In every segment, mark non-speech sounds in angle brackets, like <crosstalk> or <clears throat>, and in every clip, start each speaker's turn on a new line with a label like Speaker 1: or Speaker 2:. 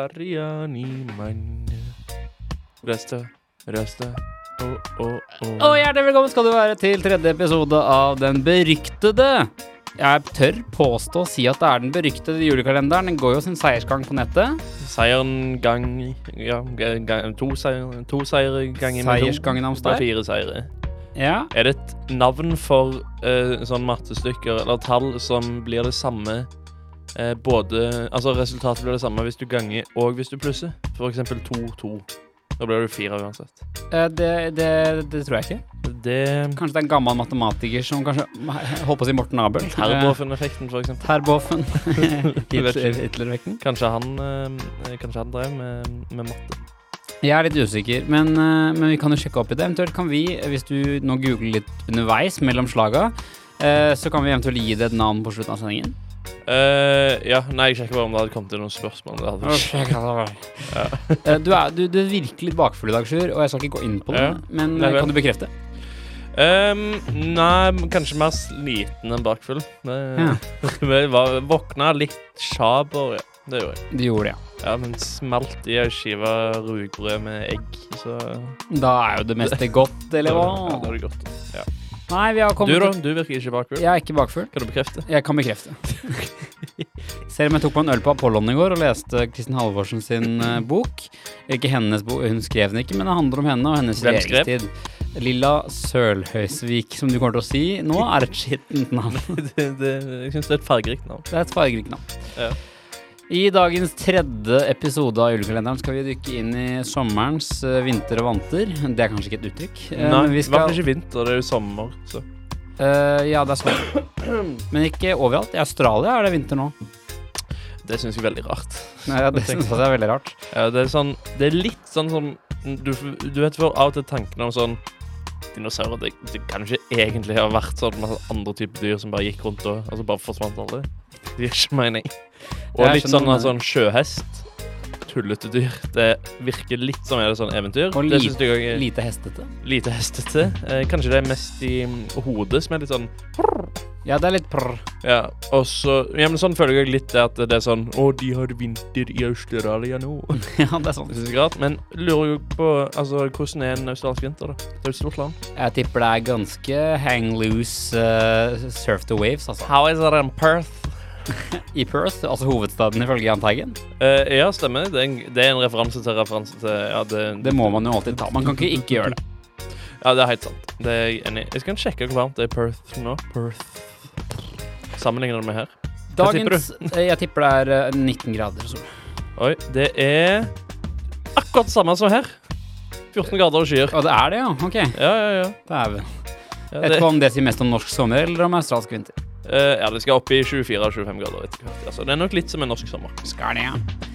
Speaker 1: Rastafarian i mann. Rasta, rasta, å, å, å.
Speaker 2: Og hjertelig velkommen skal du være til tredje episode av den beryktede Jeg tør påstå å si at det er den beryktede julekalenderen. Den går jo sin seiersgang på nettet.
Speaker 1: Seieren gang Ja, ga- ga- to seier, to seier ganger med to.
Speaker 2: Seiersgangen hans
Speaker 1: Det er
Speaker 2: der.
Speaker 1: fire seire.
Speaker 2: Ja.
Speaker 1: Er det et navn for eh, sånn mattestykker eller tall som blir det samme eh, både Altså, resultatet blir det samme hvis du ganger og hvis du plusser. For eksempel 2-2. Da blir du fire uansett.
Speaker 2: eh, Det, det, det tror jeg ikke.
Speaker 1: Det
Speaker 2: Kanskje det er en gammel matematiker som kanskje Holdt på å si Morten Abel.
Speaker 1: Terbofen-effekten, for eksempel.
Speaker 2: Eh, Terboven. <laughs>
Speaker 1: ikke.
Speaker 2: Hitler- Hitlervekten.
Speaker 1: Kanskje han, eh, kanskje han drev med, med matte.
Speaker 2: Jeg er litt usikker, men, eh, men vi kan jo sjekke opp i det. Eventuelt kan vi, hvis du nå googler litt underveis mellom slaga, eh, så kan vi eventuelt gi det et navn på slutten av sendingen.
Speaker 1: Eh, ja, nei, jeg sjekker bare om det hadde kommet inn noen spørsmål. Det hadde ikke.
Speaker 2: Eh, Du er, du, du er virkelig litt bakfull i dag, Sjur, og jeg skal ikke gå inn på det,
Speaker 1: Ja.
Speaker 2: men
Speaker 1: Nei
Speaker 2: eh,
Speaker 1: vel.
Speaker 2: kan du bekrefte?
Speaker 1: Ehm, nei, men kanskje mer sliten enn bakfull. <laughs> Det,
Speaker 2: Ja.
Speaker 1: Jeg var, våkna litt sjaber, ja. Det gjorde jeg.
Speaker 2: Du gjorde det, ja.
Speaker 1: Ja, men smalt i ei skive rugbrød med egg, så
Speaker 2: Da er jo det meste godt, eller
Speaker 1: Ja, det
Speaker 2: hva?
Speaker 1: er det godt.
Speaker 2: Nei, vi har
Speaker 1: Du,
Speaker 2: kommet
Speaker 1: da? Du virker ikke bakfull.
Speaker 2: Jeg er ikke bakfull.
Speaker 1: Kan du bekrefte?
Speaker 2: Jeg kan bekrefte. Selv om jeg tok på en øl på Apollon i går og leste Kristin Halvorsen sin eh, bok. Ikke hennes bok, hun skrev den ikke, men det handler om henne og hennes
Speaker 1: Hvem skrev?
Speaker 2: regjeringstid. Lilla Sølhøysvik, som du kommer til å si nå, er et skittent navn.
Speaker 1: <laughs> det, det, jeg syns det er et fargerikt navn.
Speaker 2: Det er et fargerikt navn.
Speaker 1: Ja.
Speaker 2: I dagens tredje episode av Julekalenderen skal vi dykke inn i sommerens eh, vinter og vanter. Det er kanskje ikke et uttrykk. eh,
Speaker 1: Nei,
Speaker 2: men
Speaker 1: i
Speaker 2: vi
Speaker 1: hvert fall
Speaker 2: skal,
Speaker 1: ikke vinter, det er jo sommer, så
Speaker 2: Eh, ja, det er sånn. Men ikke overalt. I Australia er det vinter
Speaker 1: <laughs>
Speaker 2: nå.
Speaker 1: det syns jeg er veldig rart.
Speaker 2: Nei, ja, det
Speaker 1: tenker
Speaker 2: synes jeg er veldig rart.
Speaker 1: Ja, det er sånn Det er litt sånn som Du, du vet for av og til tankene om sånn Dinosaurer det, det kan jo ikke egentlig ha vært sånn masse andre typer dyr som bare gikk rundt og altså bare forsvant aldri. Det gir ikke mening. Og
Speaker 2: Jeg
Speaker 1: litt
Speaker 2: skjønner
Speaker 1: sånn
Speaker 2: hva
Speaker 1: av
Speaker 2: du
Speaker 1: sånn sjøhest. Tullete dyr. Det virker litt som er det sånn eventyr.
Speaker 2: Og
Speaker 1: det
Speaker 2: lite-
Speaker 1: syns jeg òg er
Speaker 2: Lite hestete.
Speaker 1: lite hestete. Eh, kanskje det er mest i mm, hodet som er litt sånn
Speaker 2: Ja, det er litt prr.
Speaker 1: Ja, og så Ja, men sånn føler jeg litt det at det er sånn Å, de har vinter i Australia nå.
Speaker 2: <laughs> Ja, det er sånn.
Speaker 1: Det synes jeg er rart, men lurer jo på altså, hvordan er en australsk vinter, da? Det er jo et stort land.
Speaker 2: Jeg tipper det er ganske hang loose eh, surf the waves, altså.
Speaker 1: How is it in Perth?
Speaker 2: I Perth, altså hovedstaden ifølge Jahn Teigen.
Speaker 1: Eh, ja, stemmer. Det er, en, det er en referanse til referanse til Ja, det,
Speaker 2: Det må man jo alltid ta. Man kan ikke ikke gjøre det.
Speaker 1: ja, det er helt sant. Det er jeg enig i. Jeg skal sjekke hvor varmt det er i Perth nå. Perth. Sammenligner det med her. Hva tipper
Speaker 2: Dagens eh, Jeg tipper det er eh, 19 grader. Så.
Speaker 1: Oi, det er akkurat samme som her. 14 grader og skyer.
Speaker 2: Å, det er det, ja? Ok.
Speaker 1: Ja, ja, ja.
Speaker 2: Det er vi.
Speaker 1: Ja,
Speaker 2: Jeg vet
Speaker 1: det,
Speaker 2: ikke om det sier mest om norsk sommer eller om australsk vinter.
Speaker 1: eh, ja, det skal opp i 24-25 grader etter hvert. Altså, det er nok litt som en norsk sommer.
Speaker 2: Skal det, ja.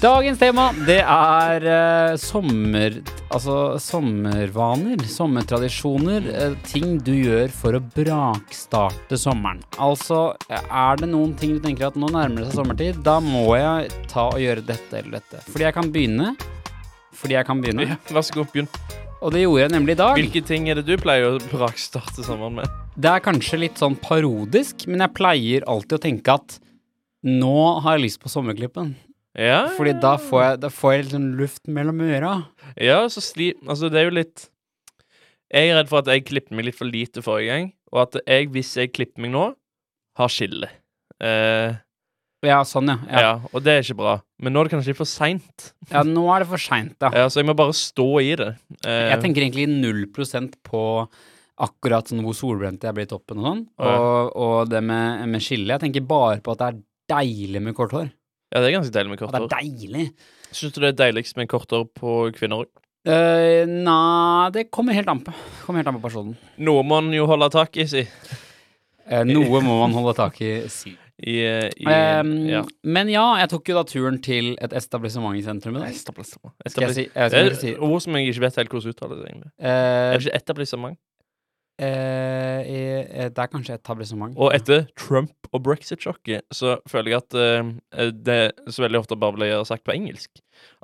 Speaker 2: Dagens tema, det er eh, sommer... Altså sommervaner, sommertradisjoner, eh, ting du gjør for å brakstarte sommeren. Altså, er det noen ting du tenker at nå nærmer det seg sommertid, da må jeg ta og gjøre dette eller dette. Fordi jeg kan begynne. Fordi jeg kan begynne.
Speaker 1: Ja, vær så god, begynn.
Speaker 2: Og det gjorde jeg nemlig i dag.
Speaker 1: Hvilke ting er det du pleier å brakstarte sommeren med?
Speaker 2: Det er kanskje litt sånn parodisk, men jeg pleier alltid å tenke at nå har jeg lyst på sommerklippen.
Speaker 1: Ja,
Speaker 2: Fordi da får jeg, da får jeg litt sånn luft mellom øra.
Speaker 1: ja så sli... Altså, det er jo litt Jeg er redd for at jeg klippet meg litt for lite forrige gang, og at jeg, hvis jeg klipper meg nå, har skille. Eh,
Speaker 2: Ja, sånn,
Speaker 1: ja.
Speaker 2: ja. Ja,
Speaker 1: Og det er ikke bra. Men nå er det kanskje litt for seint,
Speaker 2: ja nå er det for seint, da.
Speaker 1: ja, så jeg må bare stå i det. Eh,
Speaker 2: Jeg tenker egentlig null prosent på akkurat sånn hvor solbrent jeg er blitt oppen og sånn.
Speaker 1: Ja.
Speaker 2: Og, og det med, med skille. Jeg tenker bare på at det er deilig med kort hår.
Speaker 1: ja, det er ganske deilig med
Speaker 2: At det
Speaker 1: kort
Speaker 2: er
Speaker 1: hår.
Speaker 2: deilig.
Speaker 1: Syns du det er deiligst med kort hår på kvinner òg?
Speaker 2: Uh, Nei, det kommer helt an på. Kommer helt an på personen.
Speaker 1: Noe må en jo holde tak i, si.
Speaker 2: Eh, noe må man holde tak i, si.
Speaker 1: I, eh, i
Speaker 2: Ehm,
Speaker 1: ja.
Speaker 2: Men ja, jeg tok jo da turen til et establissement i sentrum i dag.
Speaker 1: Etablissement.
Speaker 2: Skal jeg si, jeg vet
Speaker 1: Det er
Speaker 2: ikke hva jeg skal si.
Speaker 1: et ord Eh, som jeg ikke vet helt hvordan uttales, egentlig.
Speaker 2: Eh,
Speaker 1: Er det ikke etablissement?
Speaker 2: eh, eh, det er kanskje et etablissement.
Speaker 1: Og etter Trump og brexit-sjokket så føler jeg at eh, det så veldig ofte bare blir sagt på engelsk.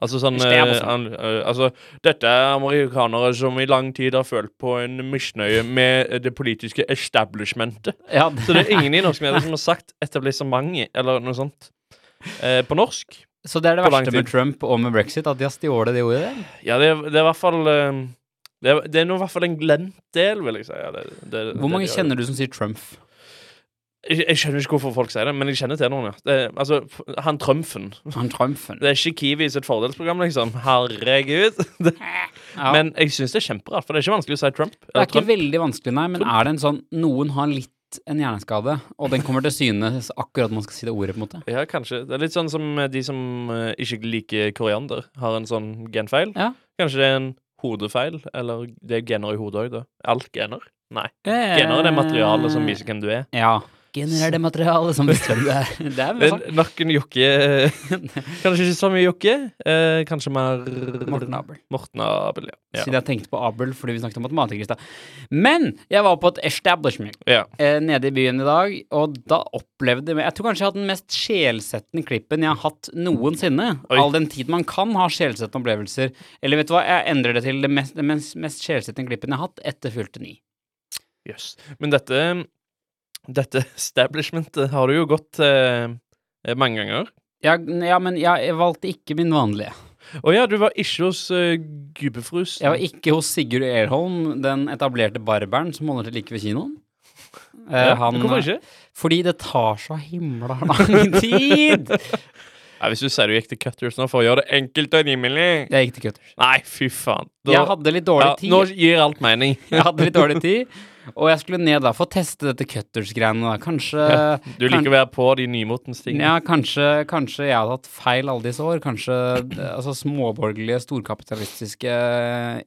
Speaker 1: Altså sånn
Speaker 2: Det er på
Speaker 1: eh, an, eh, Altså, dette er amerikanere som i lang tid har følt på en misnøye med eh, det politiske establishmentet. <laughs>
Speaker 2: Ja, det,
Speaker 1: Så det er ingen i norsk media som har sagt etablissementet eller noe sånt eh, på norsk.
Speaker 2: <laughs> Så det er det
Speaker 1: På lang
Speaker 2: verste med
Speaker 1: tid.
Speaker 2: Trump og med brexit, at de har stjålet det ordet der.
Speaker 1: Ja, det, er- det er i hvert fall eh, Det er, det er nå i hvert fall en glemt del, vil jeg si. Ja, det, det,
Speaker 2: Hvor mange
Speaker 1: det, de gjør.
Speaker 2: kjenner du som sier Trump?
Speaker 1: jeg, jeg skjønner ikke hvorfor folk sier det, men jeg kjenner til noen. ja. Det, er- altså, f- han Trumfen.
Speaker 2: Han
Speaker 1: <laughs>
Speaker 2: Trumpen.
Speaker 1: Det er ikke Kiwi sitt fordelsprogram, liksom. Herregud. Det,
Speaker 2: Ja.
Speaker 1: Men jeg syns det er kjemperart, for det er ikke vanskelig å si Trump.
Speaker 2: Det
Speaker 1: Eller
Speaker 2: er ikke
Speaker 1: Trump.
Speaker 2: veldig vanskelig, nei, men er det en sånn Noen har litt en hjerneskade, og den kommer til syne akkurat når man skal si det ordet, på en måte.
Speaker 1: Ja, kanskje. Det er litt sånn som eh, de som eh, ikke liker koriander, har en sånn genfeil.
Speaker 2: Ja.
Speaker 1: Kanskje det er en hodefeil, eller det er gener i hodet òg, da. Alt gener?
Speaker 2: Eh,
Speaker 1: Gener er Eh, det materialet som viser hvem du er.
Speaker 2: Ja. Gener er det materialet som bestemmer det
Speaker 1: <laughs>
Speaker 2: er. Det er
Speaker 1: Det
Speaker 2: vel
Speaker 1: er
Speaker 2: sant.
Speaker 1: nok en jokke
Speaker 2: <laughs>
Speaker 1: Kanskje ikke så mye jokke. Eh, kanskje mer
Speaker 2: Morten Abel.
Speaker 1: Morten Abel, ja.
Speaker 2: Siden jeg tenkte på Abel fordi vi snakket om matematikk i stad. Men jeg var på et establishment
Speaker 1: ja. ja.
Speaker 2: eh, nede i byen i dag, og da opplevde jeg Jeg tror kanskje jeg har hatt den mest sjelsettende klippen jeg har hatt noensinne.
Speaker 1: Oi.
Speaker 2: All den tid man kan ha sjelsettende opplevelser. Eller vet du hva, jeg endrer det til det mest, det mest, mest sjelsettende klippen jeg har hatt etter fylte ni.
Speaker 1: Jøss. Men dette Dette establishmentet har du jo gått eh, mange ganger.
Speaker 2: Jeg, ja, men jeg, jeg valgte ikke min vanlige.
Speaker 1: Å ja, du var ikke hos eh, Gubbefrus.
Speaker 2: Jeg var ikke hos Sigurd Erholm, den etablerte barberen som holder til like ved kinoen. Eh,
Speaker 1: Ja,
Speaker 2: han- eh,
Speaker 1: Hvorfor ikke?
Speaker 2: Fordi det tar så himla lang <laughs> tid!
Speaker 1: Nei, hvis du sier du gikk til Cutters nå for å gjøre det enkelt og rimelig
Speaker 2: Jeg gikk til Cutters.
Speaker 1: Nei, fy faen. Da-
Speaker 2: Jeg hadde litt dårlig
Speaker 1: Ja,
Speaker 2: tid.
Speaker 1: nå gir alt mening.
Speaker 2: <laughs> Jeg hadde litt dårlig tid, og jeg skulle ned da for å teste dette Cutters-greiene. da. Kanskje,
Speaker 1: Du liker å være på de nymotens ting.
Speaker 2: <laughs> ja, kanskje, kanskje jeg hadde hatt feil alle disse år. Kanskje eh, altså, småborgerlige, storkapitalistiske,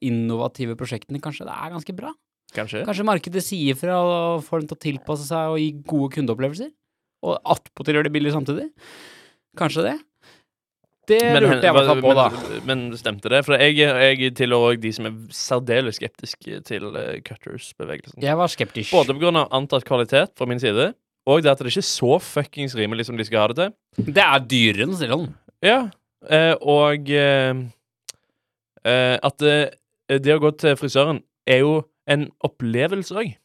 Speaker 2: innovative prosjektene Kanskje det er ganske bra?
Speaker 1: Kanskje.
Speaker 2: Kanskje markedet sier fra og får dem til å tilpasse seg og gi gode kundeopplevelser? Og attpåtil gjør det billig samtidig? Kanskje det? Det lurte jeg i hvert fall på, da.
Speaker 1: men, men stemte det? For jeg, jeg tilhører òg de som er særdeles skeptiske til eh, Cutters-bevegelsen.
Speaker 2: Jeg var skeptisk.
Speaker 1: Både pga. antatt kvalitet fra min side, og det at det ikke er så fuckings rimelig som de skal ha det til.
Speaker 2: Det er dyrere enn Stillon.
Speaker 1: Ja, eh, og eh, eh, at eh, det å gå til frisøren er jo en opplevelse òg.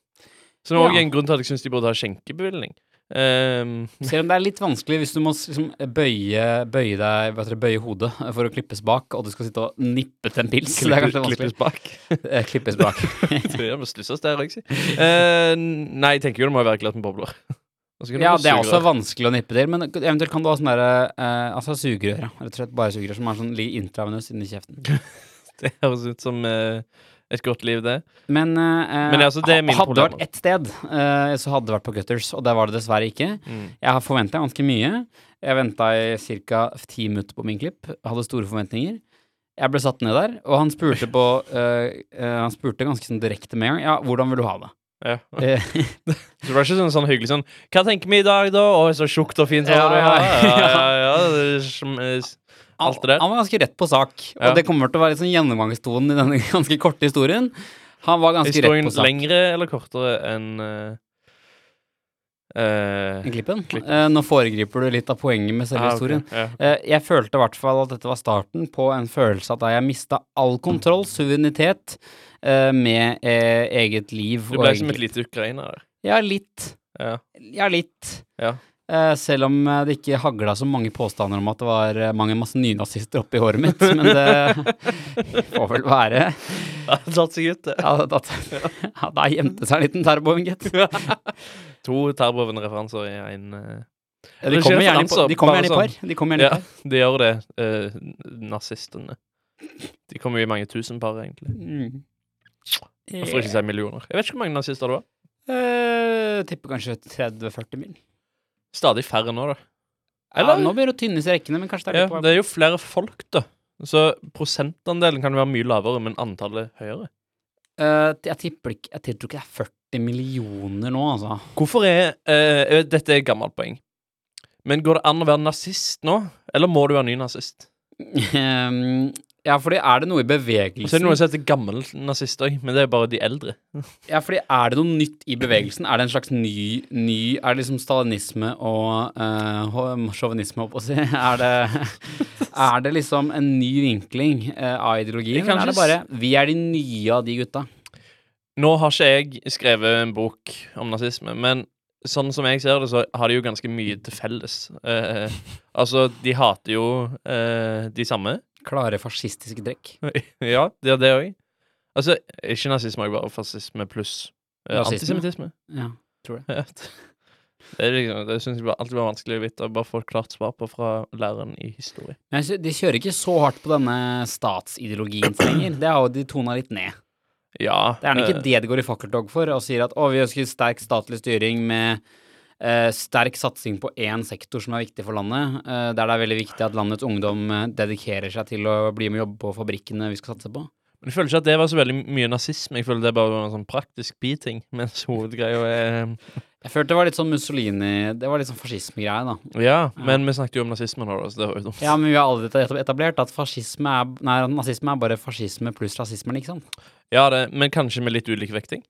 Speaker 1: Som òg
Speaker 2: Ja.
Speaker 1: er en grunn til at jeg syns de burde ha skjenkebevilgning.
Speaker 2: <laughs>
Speaker 1: Ehm,
Speaker 2: Selv om det er litt vanskelig hvis du må s- liksom bøye, bøye deg hva heter det, bøye hodet for å klippes bak, og du skal sitte og nippe til en pils. det er kanskje vanskelig.
Speaker 1: klippes bak. <laughs>
Speaker 2: Eh, klippes bak.
Speaker 1: Tror jeg må slusses der òg, si. Eh, nei, jeg tenker jo det må være glatt med bobler. <laughs> Og så kan du
Speaker 2: <laughs> Ja,
Speaker 1: få
Speaker 2: det er også
Speaker 1: sugerør.
Speaker 2: vanskelig å nippe til, men eventuelt kan du ha sånn derre eh, Altså sugerør, ja. Rett og slett bare sugerør som er sånn ligger intravenøst inni kjeften.
Speaker 1: <laughs> Det høres ut som eh, et godt liv, det.
Speaker 2: Men, eh,
Speaker 1: Men altså, det er mine
Speaker 2: hadde det
Speaker 1: problemer.
Speaker 2: vært ett sted, eh, så hadde det vært på Gutters, og der var det dessverre ikke.
Speaker 1: Mm.
Speaker 2: Jeg har forventa ganske mye. Jeg venta i ca. ti minutter på min klipp, hadde store forventninger. Jeg ble satt ned der, og han spurte
Speaker 1: <laughs>
Speaker 2: på eh, eh, Han spurte ganske sånn direkte med en gang Ja, hvordan vil du ha det?
Speaker 1: Ja.
Speaker 2: Eh,
Speaker 1: Så det var ikke sånn, sånn hyggelig sånn Hva tenker vi i dag, da? Å, så tjukt og fint.
Speaker 2: Ja,
Speaker 1: hår du
Speaker 2: <laughs> ja,
Speaker 1: har. ja, ja, ja, det er som, eh, s- Alt det der.
Speaker 2: <laughs> Han var ganske rett på sak, og
Speaker 1: Ja.
Speaker 2: det kommer til å være liksom gjennomgangstonen i denne <laughs> ganske korte historien. Han var ganske
Speaker 1: Historien
Speaker 2: rett på sak.
Speaker 1: lengre eller kortere enn eh, eh,
Speaker 2: i Klippen.
Speaker 1: Klippen.
Speaker 2: Eh, nå foregriper du litt av poenget med selve
Speaker 1: ah, ok,
Speaker 2: historien.
Speaker 1: ja.
Speaker 2: Eh, Jeg følte i hvert fall at dette var starten på en følelse at da jeg mista all kontroll, suverenitet, eh, med eh, eget liv.
Speaker 1: Du
Speaker 2: og
Speaker 1: ble
Speaker 2: egen
Speaker 1: som et
Speaker 2: klipp.
Speaker 1: lite Ukraina der.
Speaker 2: Ja, litt.
Speaker 1: Ja. <laughs>
Speaker 2: Ja, litt.
Speaker 1: Ja.
Speaker 2: Eh, Selv om eh, det ikke hagla så mange påstander om at det var eh, mange masse nynazister oppi håret mitt, <laughs> men det får vel være.
Speaker 1: Ja, det tatt seg ut, det. <laughs>
Speaker 2: Ja, da, <laughs> ja, da gjemte seg en liten terboen, gitt.
Speaker 1: To Terboven-referanser i én
Speaker 2: De kommer gjerne i par. De kommer gjerne i par. De kommer gjerne i
Speaker 1: sånn. Ja,
Speaker 2: par.
Speaker 1: de gjør det, eh, nazistene. De kommer jo i mange tusen par, egentlig.
Speaker 2: Mm.
Speaker 1: Jeg får ikke si millioner. Jeg vet ikke hvor mange nazister det var.
Speaker 2: Eh, Tipper kanskje 30-40 mil.
Speaker 1: Stadig færre nå, da.
Speaker 2: Ja, nå begynner det å tynnes i rekkene, men kanskje det er
Speaker 1: Ja,
Speaker 2: litt på
Speaker 1: det er jo flere folk, da. Så prosentandelen kan være mye lavere, men antallet høyere.
Speaker 2: Eh, Jeg tipper ikke Jeg tror ikke det er 40 millioner nå, altså. <laughs>
Speaker 1: Hvorfor er eh, jeg vet, Dette er et gammelt poeng. Men går det an å være nazist nå, eller må du være ny nazist?
Speaker 2: Ehm, ja, fordi er det noe i
Speaker 1: Og så er
Speaker 2: bevegelsen
Speaker 1: det noe som heter gammel nazist òg, men det er bare de eldre.
Speaker 2: Ja, fordi er det noe nytt i bevegelsen? Er det en slags ny, ny Er det liksom stalinisme og eh, hå- sjåvinisme, holdt på å si? <laughs> Er det, er det liksom en ny vinkling eh, av ideologien?
Speaker 1: Det kan
Speaker 2: Eller er det bare
Speaker 1: ikke
Speaker 2: Vi er de nye av de gutta.
Speaker 1: Nå har ikke jeg skrevet en bok om nazisme, men sånn som jeg ser det, så har de jo ganske mye til felles. Eh, altså, de hater jo eh, de samme.
Speaker 2: Klare fascistiske trekk.
Speaker 1: <laughs> ja, de har det òg. Altså, ikke nazisme, bare fascisme pluss eh,
Speaker 2: Rasisme.
Speaker 1: <laughs> antisemittisme.
Speaker 2: Ja.
Speaker 1: Det, er liksom, det syns jeg bare alltid var vanskelig å vite. Bare få et klart svar på fra læreren i historie.
Speaker 2: Men jeg sy- de kjører ikke så hardt på denne statsideologien lenger. Det er jo de tona litt ned.
Speaker 1: Ja.
Speaker 2: Det er nok
Speaker 1: eh,
Speaker 2: ikke det de går i fakkeltog for, og sier at å, vi ønsker sterk statlig styring med eh, sterk satsing på én sektor som er viktig for landet, eh, der det er veldig viktig at landets ungdom eh, dedikerer seg til å bli med og jobbe på fabrikkene vi skal satse på.
Speaker 1: Men jeg føler ikke at det var så veldig mye nazisme. Jeg føler det bare var en sånn praktisk biting. <laughs> Mens hovedgreia er eh,
Speaker 2: Jeg følte det var litt sånn Mussolini Det var litt sånn fascismegreie, da.
Speaker 1: Ja, men vi snakket jo om nazisme nå, da, så det var jo dumt.
Speaker 2: Ja, men vi har allerede etablert at fascisme er Nei, nazisme er bare fascisme pluss rasismen, ikke sant?
Speaker 1: Ja, det, men kanskje med litt ulik vekting?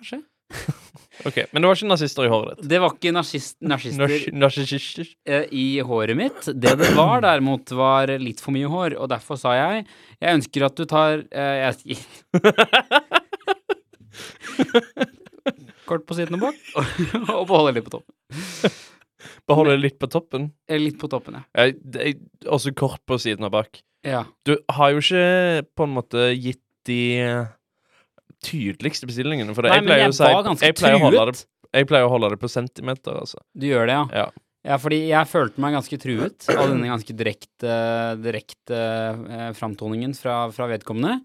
Speaker 2: Kanskje.
Speaker 1: <laughs> Ok, Men det var ikke nazister i håret ditt?
Speaker 2: Det var ikke narsist, narsister
Speaker 1: Nars- narsissister.
Speaker 2: eh, i håret mitt. Det det var derimot, var litt for mye hår, og derfor sa jeg Jeg ønsker at du tar eh, jeg, <laughs> Kort på siden og bak, <laughs> og beholder litt på toppen.
Speaker 1: Behold det litt på toppen.
Speaker 2: Eh, Litt på toppen, ja.
Speaker 1: Eh, det- Også kort på siden og bak.
Speaker 2: ja.
Speaker 1: Du har jo ikke på en måte gitt de tydeligste bestillingene, for det.
Speaker 2: Nei,
Speaker 1: jeg
Speaker 2: men
Speaker 1: pleier
Speaker 2: jeg
Speaker 1: jo å si
Speaker 2: var ganske
Speaker 1: jeg pleier å holde
Speaker 2: truet.
Speaker 1: det, jeg pleier å holde det på centimeter, altså.
Speaker 2: Du gjør det, ja.
Speaker 1: Ja.
Speaker 2: Ja, fordi jeg følte meg ganske truet av denne ganske direkte, direkte eh, framtoningen fra, fra vedkommende.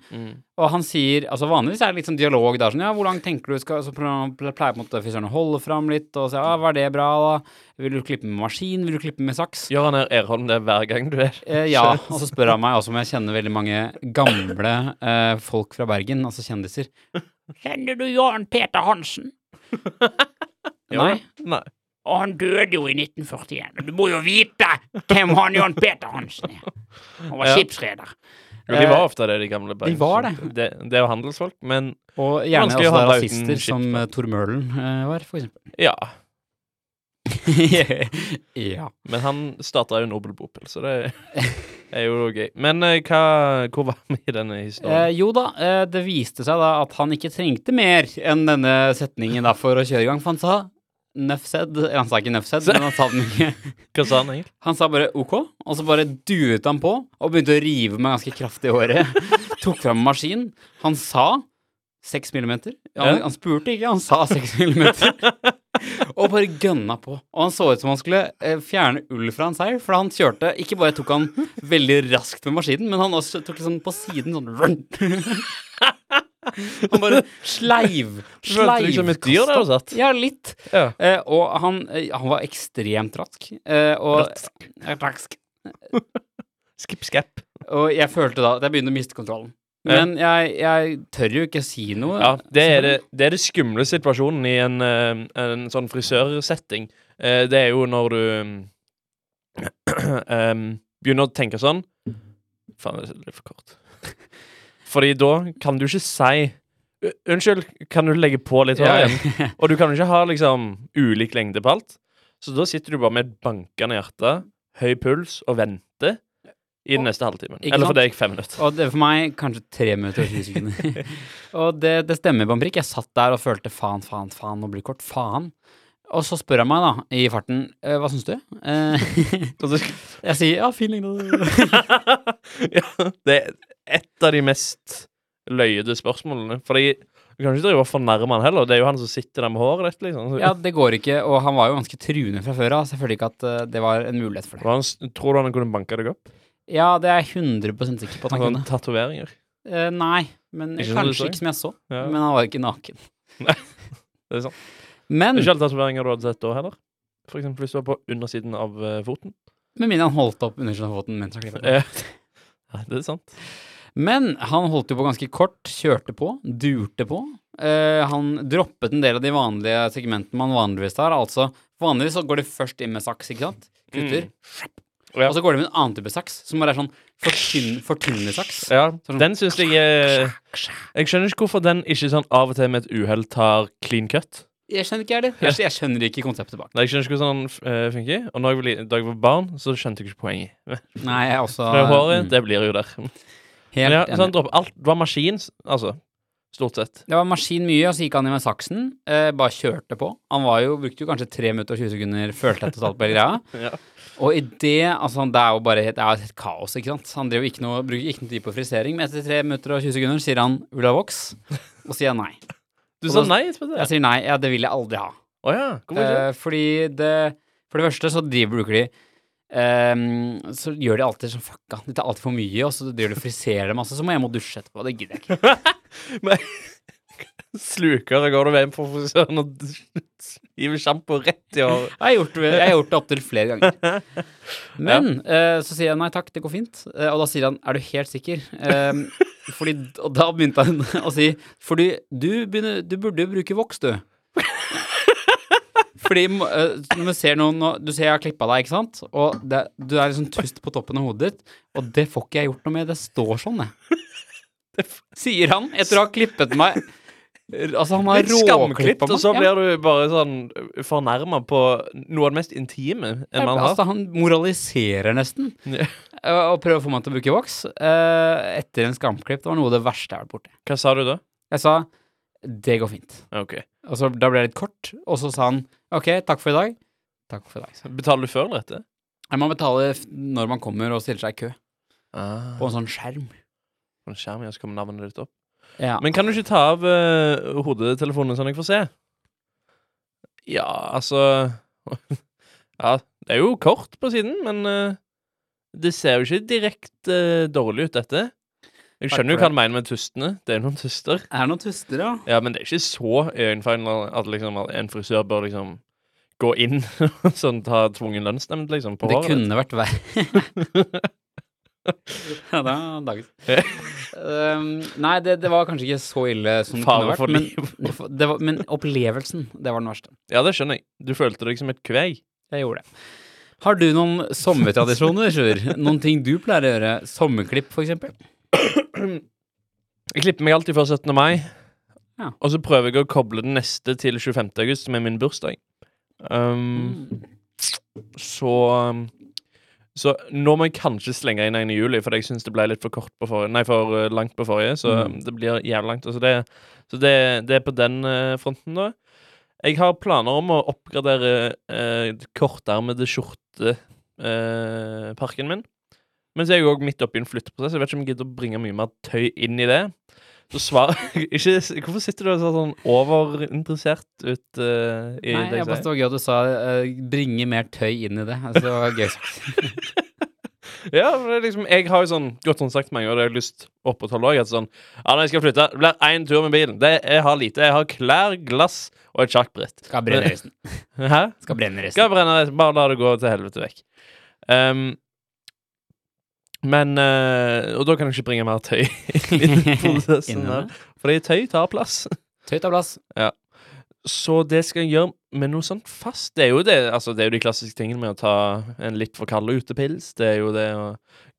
Speaker 2: Og han sier, altså vanligvis er det litt sånn dialog der, sånn ja, hvor langt tenker du skal Så pleier pleier på en måte frisøren å holde fram litt og si ja, var det bra, da? Vil du klippe med maskin, vil du klippe med saks?
Speaker 1: Gjør han her Erholm det hver gang du er?
Speaker 2: Eh, ja, og så spør han meg også om jeg kjenner veldig mange gamle eh, folk fra Bergen, altså kjendiser. Kjenner du Jan Peter Hansen? <laughs> Nei.
Speaker 1: Nei.
Speaker 2: Og han døde jo i 1941. og Du må jo vite hvem han Jan Peter Hansen er. Han var
Speaker 1: Ja.
Speaker 2: skipsreder.
Speaker 1: Jo, de var ofte det, de gamle
Speaker 2: Eh, de var det.
Speaker 1: Det, det er jo handelsfolk, men
Speaker 2: Og gjerne
Speaker 1: Vanskelig å
Speaker 2: også
Speaker 1: handle uten
Speaker 2: rasister
Speaker 1: skip,
Speaker 2: som
Speaker 1: da.
Speaker 2: eh, Tor Møhlen eh, var, for
Speaker 1: ja.
Speaker 2: eksempel. ja.
Speaker 1: Men han starta jo Nobel Bopel, så det
Speaker 2: <laughs>
Speaker 1: er jo gøy. Men eh, hva, hvor var vi i denne
Speaker 2: Eh,
Speaker 1: historien?
Speaker 2: jo da, eh, det viste seg da at han ikke trengte mer enn denne setningen da for å kjøre i gang, for han sa Nøff said. Eller, Han sa ikke nøff said, men han sa den ikke.
Speaker 1: Hva sa han egentlig?
Speaker 2: Han sa bare ok, og så bare duet han på og begynte å rive meg ganske kraftig i håret. <laughs> Tok fram maskin. Han sa seks millimeter. Han,
Speaker 1: Ja.
Speaker 2: han spurte ikke, han sa seks millimeter. <laughs> Og bare gønna på. Og han så ut som han skulle eh, fjerne ull fra en seil, for han kjørte Ikke bare tok han veldig raskt med maskinen, men han også tok liksom på siden sånn <laughs> Han bare sleiv.
Speaker 1: Du følte deg som et dyr der og
Speaker 2: Sleivkasta.
Speaker 1: satt.
Speaker 2: Ja, litt.
Speaker 1: Ja.
Speaker 2: Eh, og han, eh, han var ekstremt rask. Eh, og, rask.
Speaker 1: Skip, skap.
Speaker 2: Og jeg følte da at jeg begynte å miste kontrollen.
Speaker 1: Ja.
Speaker 2: Men jeg, jeg tør jo ikke si noe.
Speaker 1: Ja, det er det, det er det skumle situasjonen i en, eh, en sånn frisørsetting. Eh, Det er jo når du <clears throat> em, begynner å tenke sånn Faen, det er litt for kort. Fordi da kan du ikke si "U- Unnskyld, kan du legge på litt hår
Speaker 2: Ja,
Speaker 1: igjen? Og du kan jo ikke ha liksom ulik lengde på alt. Så da sitter du bare med et bankende hjerte, høy puls, og venter i den neste halvtimen.
Speaker 2: Ikke
Speaker 1: Eller for
Speaker 2: sant?
Speaker 1: deg fem minutter.
Speaker 2: Og det for meg kanskje tre minutter og 20
Speaker 1: <laughs>
Speaker 2: sekunder. og det, det stemmer på en prikk. Jeg satt der og følte faen, faen, faen, nå blir det kort. Faen. Og så spør han meg da, i farten, «Eh, hva syns du? Eh, <laughs>
Speaker 1: Og så
Speaker 2: jeg sier ja, fin lengde.
Speaker 1: <laughs> ja, det er et av de mest løyede spørsmålene. Fordi du kan ikke drive og fornærme han heller. Det er jo han som sitter der med håret ditt, liksom. Så-
Speaker 2: ja, det går ikke. Og han var jo ganske truende fra før av, så jeg følte ikke at eh, det var en mulighet for
Speaker 1: Og
Speaker 2: det.
Speaker 1: Han, s- tror du han kunne banka deg opp?
Speaker 2: Ja, det er jeg 100 sikker på at han
Speaker 1: Sånn
Speaker 2: kunne.
Speaker 1: tatoveringer.
Speaker 2: Eh, nei, men
Speaker 1: Ikke som du så?
Speaker 2: kanskje ikke som jeg så.
Speaker 1: Ja,
Speaker 2: Men han var ikke naken.
Speaker 1: det er sant.
Speaker 2: Men
Speaker 1: Ikke alle tatoveringer du hadde sett da heller. For eksempel hvis du var på undersiden av eh, foten.
Speaker 2: med mindre han holdt opp underskjønnheten mens han klippet.
Speaker 1: Eh, ja, det er sant.
Speaker 2: Men han holdt jo på ganske kort, kjørte på, durte på. Eh, han droppet en del av de vanlige segmentene man vanligvis tar. Altså, vanligvis så går det først inn med saks, ikke sant? Kutter.
Speaker 1: Mm. Ja.
Speaker 2: Og så går det med en annen type saks, som bare er sånn fortynn- fortynnende saks.
Speaker 1: Ja, den syns jeg eh, Jeg skjønner ikke hvorfor den ikke sånn av og til med et uhell tar clean cut.
Speaker 2: Jeg skjønner ikke, jeg heller. Jeg, jeg skjønner ikke konseptet bak.
Speaker 1: Nei, Jeg skjønner ikke hvordan den eh, funker. Og når jeg var li- da jeg var barn, så skjønte jeg ikke poenget.
Speaker 2: Nei, jeg er også
Speaker 1: Det håret,
Speaker 2: mm,
Speaker 1: det blir jo der.
Speaker 2: helt
Speaker 1: ja, sånn,
Speaker 2: enig.
Speaker 1: så han dropper alt. Det var maskin, s- altså. Stort sett.
Speaker 2: Det var maskin mye, og så gikk han inn med saksen. Eh, bare kjørte på. Han var jo, brukte jo kanskje 3 minutter og 20 sekunder, følte jeg totalt på hele greia.
Speaker 1: Ja.
Speaker 2: Og i det Altså, han- det er jo bare helt, det er jo helt kaos, ikke sant. Han driver jo ikke noe, bruker ikke noe tid på frisering, men etter 3 minutter og 20 sekunder sier han 'vil du ha voks?' Og så sier jeg nei.
Speaker 1: Du
Speaker 2: Og
Speaker 1: sa
Speaker 2: da-
Speaker 1: nei etterpå det?
Speaker 2: Jeg sier nei, ja, det vil jeg aldri ha.
Speaker 1: Å ja. Hvorfor ikke?
Speaker 2: Eh, fordi det For det første så driver bruker de ehm, så gjør de alltid sånn fucka. De tar alltid for mye, og så driver de og friserer det masse. Så må jeg hjem og dusje etterpå. Det gidder jeg ikke.
Speaker 1: Eh, Slukere går du hjem fra <laughs> frisøren og hiver sjampo rett i håret.
Speaker 2: Jeg har gjort, det- jeg har gjort det opptil flere ganger.
Speaker 1: <laughs>
Speaker 2: Men eh, så sier jeg nei takk, det går fint. Eh, og da sier han er du helt sikker? Ehm, fordi, og da begynte han <laughs> å si fordi du, begynner, du burde jo bruke voks, du. <laughs> Fordi eh, når du ser noen nå- Du ser jeg har klippa deg, ikke sant? Og det, du er liksom tust på toppen av hodet ditt, og det får ikke jeg gjort noe med. Det står sånn,
Speaker 1: <laughs>
Speaker 2: det. Sier han etter å ha klippet meg. Altså, han har
Speaker 1: Litt skamklipt,
Speaker 2: råklippa meg.
Speaker 1: og så
Speaker 2: Ja.
Speaker 1: blir du bare sånn fornærma på noe av det mest intime en man har.
Speaker 2: Altså, han moraliserer nesten.
Speaker 1: Ja.
Speaker 2: Eh, Og prøver å få meg til å bruke voks. eh, Etter en skamklipp. Det var noe av det verste jeg har vært borti.
Speaker 1: Hva sa du da?
Speaker 2: Jeg sa 'det går fint'.
Speaker 1: Ok.
Speaker 2: Og så, da ble jeg litt kort, og så sa han 'ok, takk for i dag'. Takk for i dag. sa jeg.
Speaker 1: Betaler du før eller etter?
Speaker 2: Nei, Man betaler f- når man kommer og stiller seg i kø,
Speaker 1: Ah.
Speaker 2: på en sånn skjerm.
Speaker 1: På en skjerm, ja, så kommer navnet ditt opp.
Speaker 2: Ja.
Speaker 1: Men kan du ikke ta av eh, hodetelefonen sånn jeg får se? Ja, altså <laughs> Ja, det er jo kort på siden, men eh, det ser jo ikke direkte eh, dårlig ut, dette. Jeg
Speaker 2: Takk
Speaker 1: skjønner jo
Speaker 2: for
Speaker 1: hva du mener med tustene. Det er jo noen tuster.
Speaker 2: Er det noen tuster, ja?
Speaker 1: Ja, men det er ikke så øyenfeilende at liksom, at en frisør bør liksom gå inn <laughs> og sånn, ta tvungen lønnsnemnd liksom, på
Speaker 2: det
Speaker 1: håret.
Speaker 2: kunne vært verre.
Speaker 1: <laughs>
Speaker 2: <laughs> ja, det var dagens. Um, nei, det, det var kanskje ikke så ille som det kunne
Speaker 1: Fare
Speaker 2: vært.
Speaker 1: for
Speaker 2: Men,
Speaker 1: liv.
Speaker 2: det var- det var, men opplevelsen, det var den verste.
Speaker 1: Ja, det skjønner jeg. Du følte deg som et kveg.
Speaker 2: Jeg gjorde det. Har du noen sommertradisjoner, Sjur? Noen ting du pleier å gjøre? Sommerklipp, for eksempel?
Speaker 1: Jeg klipper meg alltid før 17. mai,
Speaker 2: Ja.
Speaker 1: og så prøver jeg å koble den neste til 25. august, som er min bursdag.
Speaker 2: Mm.
Speaker 1: Um, Så um, Så nå må jeg kanskje slenge inn en i juli, for jeg syns det ble litt for kort på forrige Nei, for uh, langt på forrige, så
Speaker 2: Mm.
Speaker 1: um, det blir jævlig langt. Altså det, så det, det er på den uh, fronten, da. Jeg har planer om å oppgradere uh, kortermede skjorteparken min. Men så er jeg òg midt oppi en flytteprosess. Jeg vet ikke om jeg gidder å bringe mye mer tøy inn i det. Så svar <laughs> ikke, Hvorfor sitter du og ser sånn overinteressert ut uh, i
Speaker 2: Nei,
Speaker 1: det jeg
Speaker 2: jeg bare
Speaker 1: sier?
Speaker 2: det var gøy at du sa eh, 'bringe mer tøy inn i det'. Altså, det var gøy sagt.
Speaker 1: Ja, for det er liksom, jeg har jo sånn godt sånn sagt mange ganger, og det har jeg lyst å opprettholde òg. Sånn, ja, når jeg skal flytte, det blir én tur med bilen. Det, jeg har lite. Jeg har klær, glass og et sjakkbrett.
Speaker 2: Skal brenne resten.
Speaker 1: Hæ?
Speaker 2: Skal brenne resten.
Speaker 1: Skal jeg brenne det? Bare la det gå til helvete vekk. Ehm, men eh, Og da kan jeg ikke bringe mer tøy <laughs> inn i prosessen.
Speaker 2: Innom
Speaker 1: her,
Speaker 2: det.
Speaker 1: Fordi tøy tar plass.
Speaker 2: Tøy tar plass.
Speaker 1: Så det skal jeg gjøre med noe sånt fast. Det er jo det, altså det er jo de klassiske tingene med å ta en litt for kald utepils. Det er jo det å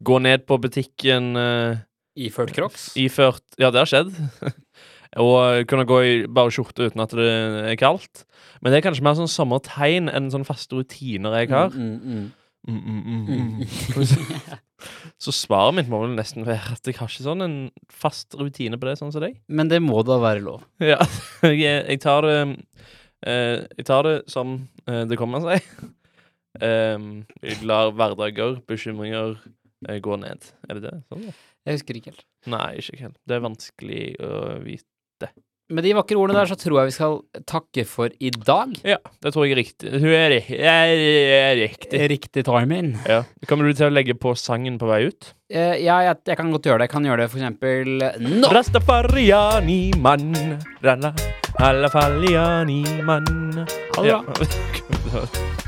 Speaker 1: gå ned på butikken eh,
Speaker 2: Iført crocs.
Speaker 1: iført Ja, det har skjedd. <laughs> Og kunne gå i bare skjorte uten at det er kaldt. Men det er kanskje mer sånn sommertegn enn sånne faste rutiner jeg har.
Speaker 2: Mm, mm,
Speaker 1: Mm, mm, mm,
Speaker 2: mm,
Speaker 1: mm.
Speaker 2: mm.
Speaker 1: <laughs> Så svaret mitt må vel nesten være at jeg har ikke sånn en fast rutine på det, sånn som deg.
Speaker 2: Men det må da være lov.
Speaker 1: <laughs> Ja, <laughs> jeg, jeg tar det eh, Jeg tar det som eh, det kommer seg. <laughs> Em, jeg lar hverdager, bekymringer, eh, gå ned. Er det det? Sånn, ja.
Speaker 2: Jeg husker ikke helt.
Speaker 1: Nei, ikke helt. Det er vanskelig å vite.
Speaker 2: Med de vakre ordene der så tror jeg vi skal takke for i dag.
Speaker 1: Ja, det tror jeg er riktig. Hun er, ri- er, er riktig.
Speaker 2: Riktig timing.
Speaker 1: Ja. Kommer du til å legge på sangen på vei ut?
Speaker 2: Eh, ja, jeg, jeg kan godt gjøre det. Jeg kan gjøre det for eksempel nå.
Speaker 1: Rastafariani mann Rana Alafaliani mann
Speaker 2: Ha det
Speaker 1: Ja.